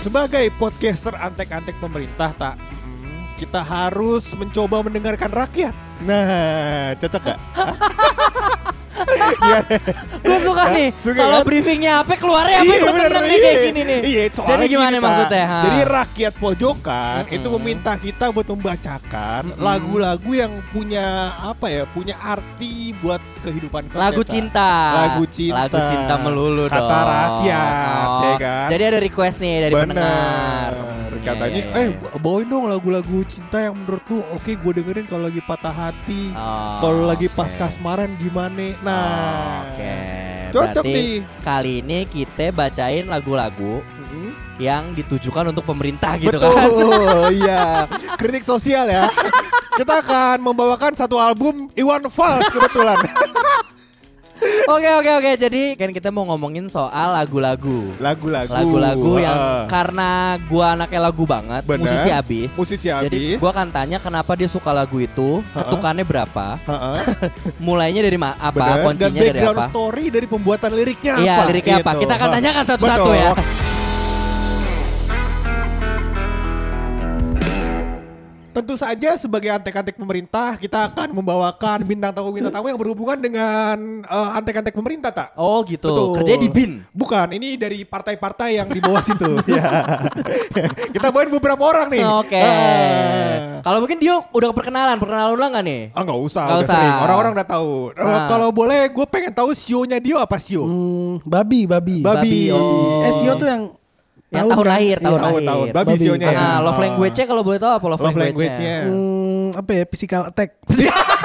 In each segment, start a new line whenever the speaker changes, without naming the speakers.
Sebagai podcaster antek-antek pemerintah tak mm, kita harus mencoba mendengarkan rakyat. Nah, cocok gak?
Gue suka
Ya,
nih.
suka
Kalau
kan?
briefingnya apa, keluarnya Eh, apa, gue seneng nih kayak gini nih.
Iya, soalnya
Jadi gimana
gini, Kak.
maksudnya? Ha?
Jadi rakyat pojokan
Mm-mm.
itu meminta kita buat membacakan
Mm-mm.
lagu-lagu yang punya apa ya, punya arti buat kehidupan kita.
Lagu cinta.
Lagu cinta.
Lagu cinta melulu
Kata
dong. Oh,
rakyat, ya kan?
Jadi ada request nih dari pendengar. Iya,
Katanya,
iya,
eh
iya.
bawain dong lagu-lagu cinta yang menurut lu oke gue dengerin kalau lagi patah hati.
Oh,
Kalau lagi
oke.
pas kasmaran gimana? Nah,
Oke.
cocok
Berarti
nih.
Kali ini kita bacain lagu-lagu
Mm-mm.
yang ditujukan untuk pemerintah
Hmm?
gitu
Betul,
kan.
iya. Kritik sosial ya. Kita akan membawakan satu album Iwan Fals kebetulan.
Oke oke oke. Jadi kan kita mau ngomongin soal lagu-lagu.
Lagu-lagu.
Lagu-lagu yang
Ah,
karena gua anaknya lagu banget,
Bener.
musisi abis.
musisi
Jadi
habis. kan
gua akan tanya kenapa dia suka lagu itu, ketukannya berapa,
Heeh,
mulainya dari ma- apa,
bener. Dan
kuncinya dari
background
apa.
story dari pembuatan liriknya
Iya,
apa?
liriknya apa?
Gitu.
Kita akan
Ah,
tanyakan satu-satu
betul.
ya.
Tentu saja sebagai antek-antek pemerintah kita akan membawakan bintang tamu bintang tamu yang berhubungan dengan eh, antek-antek pemerintah tak?
Oh gitu.
Betul.
Kerja di BIN.
Bukan, ini dari partai-partai yang di bawah situ. ya. Kita bawain beberapa orang nih.
Oke.
Ah.
Kalau mungkin dia udah perkenalan, perkenalan ulang gak nih?
Ah nggak usah,
Nggak
udah
usah.
sering. Orang-orang udah tahu. Eh,
Ah.
Kalau boleh, gue pengen tahu sionya Dio apa sio?
Hmm, babi, babi.
Babi.
oh.
Eh, Sio tuh yang
Yang tahun lahir, tahun
Iya,
lahir.
tahun. Babi,
Babi.
sionya ya.
Nah, love
Ah.
language-nya kalau boleh tahu apa love,
Love
language-nya?
language-nya.
Hmm, apa ya? Physical attack.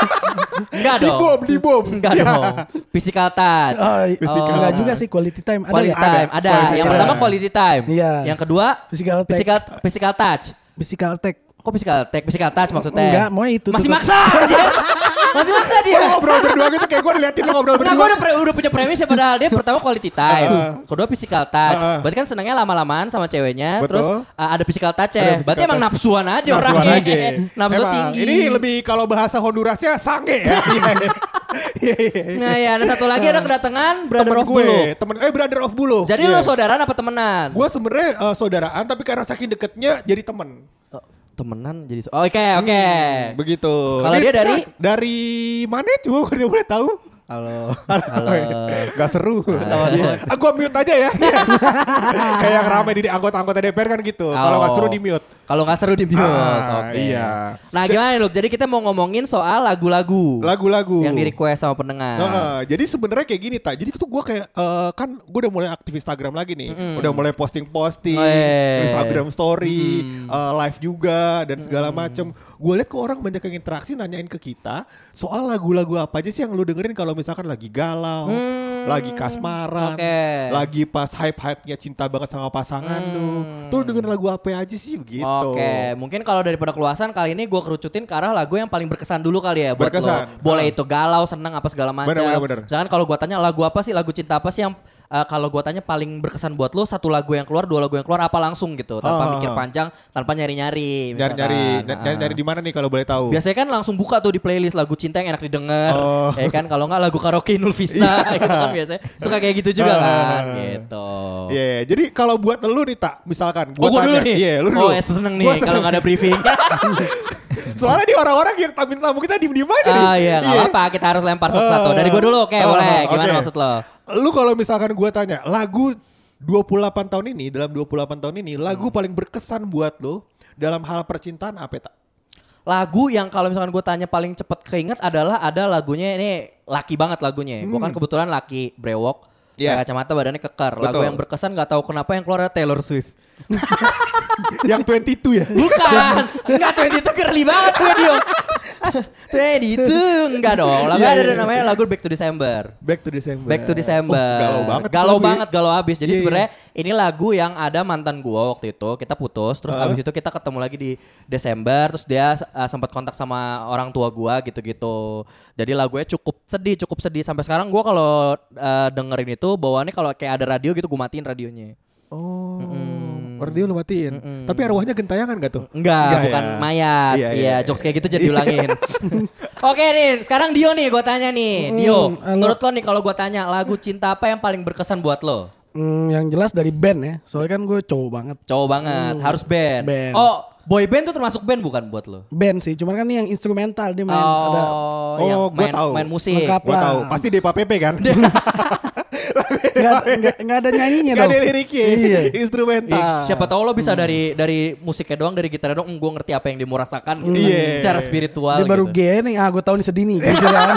Enggak dong.
Dibom, dibom.
Enggak
Ya.
dong. Physical touch.
Oh,
Physical
enggak
attack.
juga sih quality time. Ada
quality
ya?
time. Ada.
Quality
Yang
time.
pertama quality time.
Iya.
Yang kedua
Physical attack.
physical physical touch.
Physical attack.
Kok physical attack? Physical touch maksudnya.
Enggak, mau itu
Masih
tuh.
maksa anjir. Masih maksa dia.
Lo ngobrol berdua gitu kayak gue diliatin lo ngobrol
Nah, gue
berdua. Uh-uh.
udah, pre- udah punya premis ya padahal dia pertama quality time, kedua physical touch.
Ah, ah.
Berarti kan senangnya lama-lamaan sama ceweknya,
Betul.
terus uh, ada physical touch
Ada
ya.
physical
Berarti emang
touch.
nafsuan aja
Nafsuan
orangnya.
Nah, aja.
Nafsu
Emang,
tinggi.
Ini lebih kalau bahasa Hondurasnya sange ya. Iya, iya, iya.
Nah, ya, ada satu lagi ada kedatangan
Temen
brother of
gue,
Bulu.
temen eh brother of bulu.
Jadi
Iya.
lo saudaraan apa temenan?
Gue sebenarnya eh, saudaraan tapi karena saking deketnya jadi temen.
Oh, temenan jadi so- Oke, oke.
Begitu.
Eh, Kalau
Ini
dia dari-
dari mana coba gue udah boleh tahu? Halo. Halo. Gak seru. Iya. Ah, gua mute aja ya. Kayak yang rame di anggota-anggota DPR kan gitu. Kalau
Oh.
gak seru di mute.
Kalau nggak seru di mute.
Ah,
Oh, Oke.
iya.
Nah gimana nih, Luk? Jadi kita mau ngomongin soal lagu-lagu.
Lagu-lagu.
Yang di request sama pendengar.
Heeh, jadi sebenarnya kayak gini tak. Jadi tuh gue kayak eh, kan gue udah mulai aktif Instagram lagi nih. Udah mulai posting-posting,
Eh.
Instagram story, eh, live juga dan segala macem. Gue liat ke orang banyak yang interaksi nanyain ke kita soal lagu-lagu apa aja sih yang lu dengerin kalau misalkan lagi galau, lagi kasmaran,
Hmm, Oke.
lagi pas hype-hype-nya cinta banget sama pasangan lu. Tuh lu dengerin lagu apa aja sih gitu.
Hmm. Oke, mungkin kalau daripada keluasan kali ini gue kerucutin ke arah lagu yang paling berkesan dulu kali ya buat
Berkesan.
lo. Boleh itu galau, senang apa segala macam.
Bener, bener, bener.
Misalkan kalau gue tanya lagu apa sih, lagu cinta apa sih yang eh, kalau gue tanya paling berkesan buat lo satu lagu yang keluar, dua lagu yang keluar apa langsung gitu, tanpa
Ah, ah,
mikir
ah.
panjang, tanpa nyari-nyari. misalkan.
Nyari-nyari,
Ah.
nyari-nyari di mana nih kalau boleh tahu?
Biasanya kan langsung buka tuh di playlist lagu cinta yang enak didengar,
Oh.
ya kan? Kalau nggak lagu karaoke Nul Vista, gitu kan biasanya suka kayak gitu juga kan, gitu.
Iya, jadi kalau buat lu nih tak, misalkan
Oh,
gua
gue dulu
tanya,
nih.
iya lu dulu.
oh, eh, seneng
Gua
nih
tanya.
kalau nggak ada briefing.
Soalnya di orang-orang yang tampil tamu kita diem-diem aja nih.
Ah iya, nggak apa-apa. Kita harus lempar satu-satu. Dari gue dulu, oke,
Ah,
boleh.
oke.
Gimana maksud lo?
Lu kalau misalkan gua
Hmm.
tanya, lagu 28 tahun ini, dalam 28 tahun ini, lagu paling berkesan buat lu dalam hal percintaan apa tak?
Lagu yang kalau misalkan gue tanya paling cepet keinget adalah ada lagunya ini laki banget lagunya. Gue kan kebetulan laki brewok.
Hmm. Iya.
pakai Kacamata badannya keker. Lagu
Betul.
yang berkesan gak tahu kenapa yang keluar adalah Taylor Swift.
yang 22 ya?
Bukan. Enggak 22 girly banget tuh dia. 22 enggak dong. Lagu
Iya,
ada
iya,
dong, namanya lagu Back to December.
Back to December.
Back to December.
Oh, galau banget.
Galau
lagu ya.
banget, galau abis. Jadi
Iya, iya.
sebenarnya ini lagu yang ada mantan gua waktu itu. Kita putus, terus
Heeh.
abis itu kita ketemu lagi di Desember. Terus dia uh, sempat kontak sama orang tua gua gitu-gitu. Jadi lagunya cukup sedih, cukup sedih. Sampai sekarang gua kalau uh, dengerin itu bawaannya kalau kayak ada radio gitu gua matiin radionya.
Oh.
Hmm.
Radio lu matiin. Tapi arwahnya kan? gentayangan gak tuh?
Enggak, bukan
ya.
mayat.
Iya,
Iya,
iya, iya.
jokes kayak gitu jadi diulangin. Oke nih, sekarang Dio nih gue tanya nih.
Mm,
Dio,
halo.
menurut lo nih kalau gue tanya lagu cinta apa yang paling berkesan buat lo?
Hmm, yang jelas dari band ya. Soalnya kan gue cowok banget.
Cowok banget, harus band.
Uh, band.
Oh, boy band tuh termasuk band bukan buat lo?
Band sih, cuman kan yang instrumental dia main ada
Oh,
yang
gua
iya, main,
tahu.
main musik.
Lengkap.
Gua
Lah.
tahu. Pasti Depa Pepe kan?
nggak nggak- nggak ada nyanyinya
Gak
dong.
ada liriknya.
Iya.
Instrumental.
Ih, Siapa tahu lo
Hmm.
bisa dari dari musiknya doang, dari gitarnya doang, gue ngerti apa yang dimurasakan gitu,
Iya.
secara spiritual
Dia baru
gitu.
gay nih, ah gue tahu nih sedih nih gitu kan.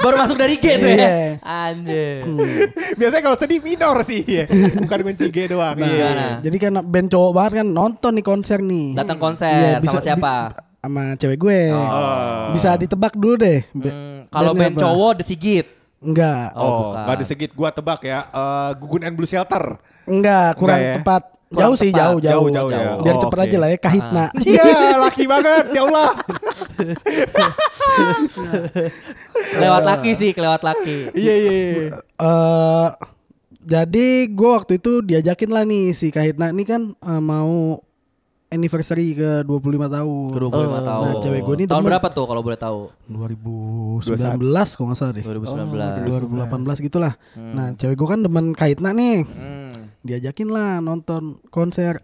baru masuk dari G tuh
Iya. Hmm.
ya. Anjir.
Biasanya kalau sedih minor sih. iya. Bukan kunci G doang. Iya.
Gimana?
Jadi kan band cowok banget kan nonton nih konser nih.
Datang konser
Iya,
sama siapa?
bi- sama cewek gue.
Oh.
Bisa ditebak dulu deh. be-
Hmm, kalau
bandnya
band
apa.
cowok The Sigit.
enggak.
Oh,
Oh,
bukan.
gak ada segit gua tebak ya. Eh, Gugun and Blue Shelter.
Enggak, kurang
Enggak ya?
tepat.
Kurang
jauh sih,
tepat.
jauh, jauh.
Jauh, jauh ya.
Biar
Oh,
cepet
oke.
aja lah ya, kahitna.
Iya, laki banget. Ya Allah.
Lewat
Ah.
laki sih, kelewat laki.
Iya, iya. iya.
Eh, jadi gue waktu itu diajakin lah nih si Kahitna ini kan eh, mau anniversary ke 25 tahun.
Ke 25 tahun.
Nah, cewek gue ini
tahun
demen.
berapa tuh kalau boleh tahu?
2019 kalau nggak salah deh. Oh,
2019.
2018 gitulah. Nah, cewek gue kan demen Kahitna nih.
Hmm.
Diajakin lah nonton konser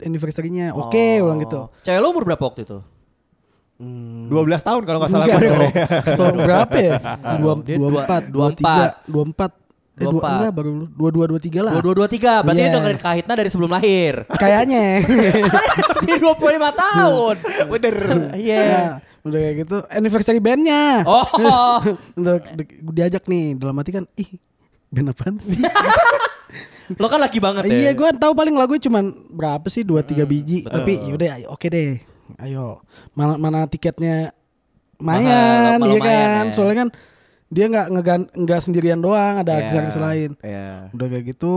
anniversary-nya.
Oh.
Oke, ulang gitu.
Cewek lo umur berapa waktu itu?
12 tahun kalau gak salah gua
Enggak dong.
dengar ya.
Tahun berapa ya? Dua,
Dia
dua
dua-
empat,
dua
dua tiga, dua empat. Eh,
24.
dua, enggak baru lu. Dua dua dua tiga lah.
2223, berarti
Iya.
dia dengerin Kahitna dari sebelum lahir.
Kayaknya.
Masih 25 tahun. Bener. Iya.
Nah, udah kayak gitu anniversary bandnya.
Oh.
Terus, udah di- diajak nih dalam hati kan ih band apaan sih?
Lo kan laki banget ya. Hmm,
iya gue tahu paling lagu cuman berapa sih dua tiga biji tapi yaudah ayo, oke deh ayo mana mana tiketnya
Mahal,
mayan iya
lumayan
kan
ya.
soalnya kan dia nggak ngegan nggak sendirian doang ada
Iya.
artis-artis lain
Iya.
udah kayak gitu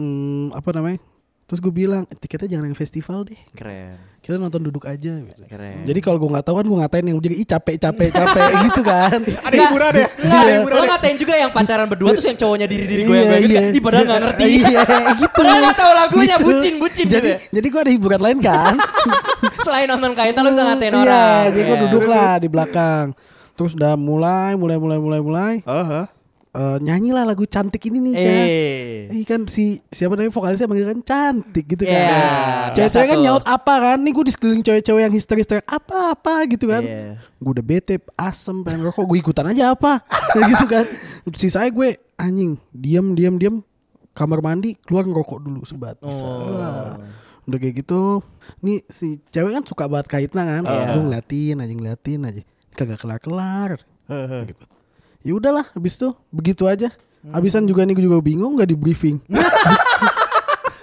hmm, apa namanya terus gue bilang tiketnya jangan yang festival deh Gitu.
Keren.
kita nonton duduk aja gitu.
Keren.
jadi kalau gue nggak tahu kan gue ngatain yang jadi "Ih, capek capek capek gitu kan
Ada hiburan ya? Ada
Enggak, lo kan
hiburan ya?
ngatain juga yang pacaran berdua terus yang cowoknya diri-diri gue
Iya,
yang gue
iya.
Ih padahal gak ngerti.
Iya, gitu.
Padahal gak tahu lagunya, bucin-bucin
Jadi,
gitu
jadi gue ada hiburan lain kan.
Selain nonton Kahitna lo bisa ngatain
Iya,
orang.
jadi gue
Iya.
duduk lah di belakang. Terus udah mulai, mulai, mulai, mulai, mulai.
Aha.
Eh, nyanyilah lagu cantik ini nih kan.
Eh.
Ih kan si siapa namanya vokalisnya manggil kan cantik gitu kan.
Iya,
Cewek-cewek
biasa
kan
tuh.
nyaut apa kan? Nih gue di sekeliling cewek-cewek yang histeris teriak apa-apa gitu kan.
Iya.
Gue udah bete, asem, pengen rokok, gue ikutan aja apa. Kayak gitu kan. Sisanya gue anjing, diam diam diam kamar mandi keluar ngerokok dulu sebat bisa. Wah. Udah kayak gitu. Nih si cewek kan suka banget kaitna kan. Gue ngeliatin aja ngeliatin aja. Kagak kelar-kelar gitu. Ya udahlah, habis itu begitu aja. Habisan juga nih gue juga bingung nggak di briefing.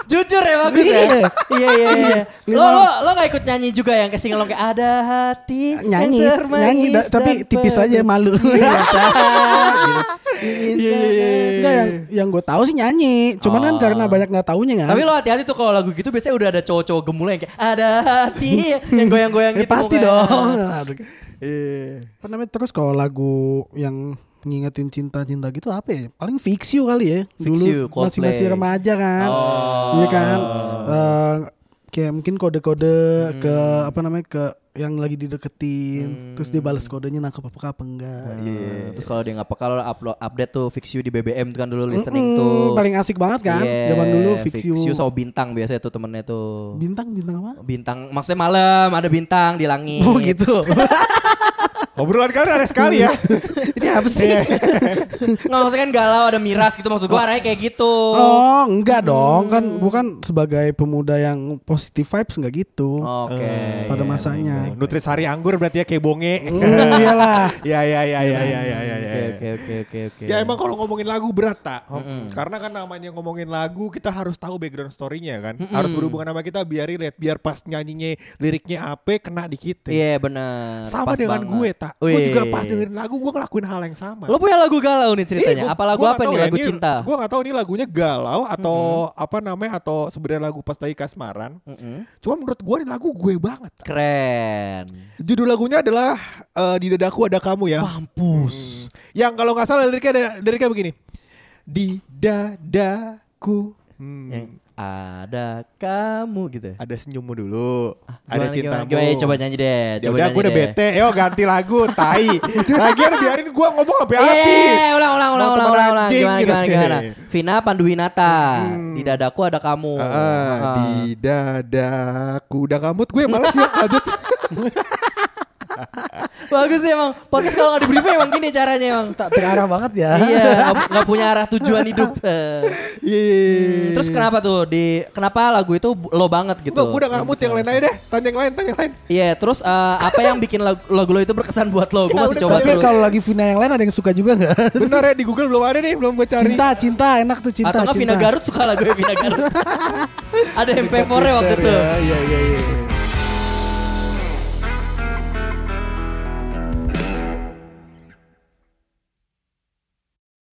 Jujur ya bagus ya.
Iya.
Iya iya iya.
Lima.
Lo lo lo gak ikut nyanyi juga yang kasih ngelong kayak ada hati yang
nyanyi,
termanis
nyanyi da-
dan
tapi tipis aja
peduli."
malu.
Iya, iya, iya.
Enggak yang yang gue tahu sih nyanyi, cuman kan karena banyak nggak taunya kan.
Tapi lo hati-hati tuh kalau lagu gitu biasanya udah ada cowok-cowok gemulai yang kayak ada hati yang goyang-goyang
Eh,
gitu.
pasti
mukanya.
dong.
Iya.
Apa namanya terus kalau lagu yang ngingetin cinta-cinta gitu apa ya? Paling Fix You kali ya.
Fix You,
Dulu masih masih
Coldplay.
remaja kan. Iya kan? Eh, kayak mungkin kode-kode ke apa namanya ke yang lagi dideketin, terus dia balas kodenya nangkep apa apa
Nah.
enggak. gitu.
Iya. Terus kalau dia nggak peka lo upload update tuh fix you di BBM tuh kan dulu
Mm,
listening tuh.
paling asik banget kan
Iya,
zaman dulu Fix, You.
sama bintang biasanya tuh temennya tuh.
Bintang bintang apa?
Bintang maksudnya malam ada bintang di langit.
Oh gitu.
Obrolan kalian aneh sekali ya.
Ini apa sih?
Nggak maksudnya kan galau ada miras gitu maksud gua arahnya kayak gitu.
Oh enggak dong kan bukan sebagai pemuda yang positive vibes enggak gitu
Oke.
pada
Iya.
masanya.
Nutrisari anggur berarti ya kayak bonge.
Hmm, iyalah.
Ya ya ya
Iya,
ya ya ya ya.
Oke
ya.
oke oke oke oke.
Ya emang kalau ngomongin lagu berat tak, karena kan namanya ngomongin lagu kita harus tahu background story-nya kan, harus berhubungan sama kita biar relate, biar pas nyanyinya liriknya apa kena ya. di kita.
Iya benar.
Sama dengan gue tak, gue juga pas dengerin lagu gue ngelakuin hal yang sama.
Lo punya lagu galau nih ceritanya.
Ih, gua-
apa lagu
gua nggak
apa nih?
tahu ya,
Lagu
ini-
cinta.
Gua gak tahu ini lagunya galau atau apa namanya atau sebenarnya lagu pas lagi kasmaran. Cuma menurut gua ini lagu gue banget.
Keren.
Judul lagunya adalah eh, di dadaku ada kamu ya. Mampus. Yang kalau nggak salah liriknya ada liriknya begini. Di dadaku hmm,
Yang ada kamu gitu. ya?
ada senyummu dulu, ada
Ah, Gimana,
cintamu.
Gimana, gimana, Ya, coba nyanyi deh.
Ya
Coba
udah
nyanyi
gue udah
deh.
bete, yo ganti lagu, tai. Lagian biarin gue ngomong sampai
Eh,
habis.
ulang, ulang, ulang,
Mau
ulang,
teman
ulang, ulang.
anjing
Gimana,
gitu. Hmm.
gimana, gimana? Vina Panduwinata. Di dadaku ada kamu.
Ah,
Ah.
di dadaku udah ngamut gue malas ya lanjut.
Bagus sih emang. Podcast kalau nggak di briefing emang gini caranya emang.
Tak terarah banget ya.
iya, nggak- nggak punya arah tujuan hidup. Eh.
Iya.
Terus kenapa tuh di kenapa lagu itu bu- lo banget gitu?
Enggak, gue udah ngamut yang lain aja deh. Tanya yang lain, tanya yang lain.
Iya, terus eh, apa yang bikin lagu, lagu lo itu berkesan buat lo?
Ya,
Gue masih
udah,
coba
Tapi
dulu.
kalau lagi Vina yang lain ada yang suka juga enggak?
Bentar ya di Google belum ada nih, belum gue cari.
Cinta, cinta enak tuh cinta.
Atau nggak
cinta. ya.
Vina Garut suka lagu Vina Garut? Ada MP4 -nya waktu itu.
Iya, iya, iya.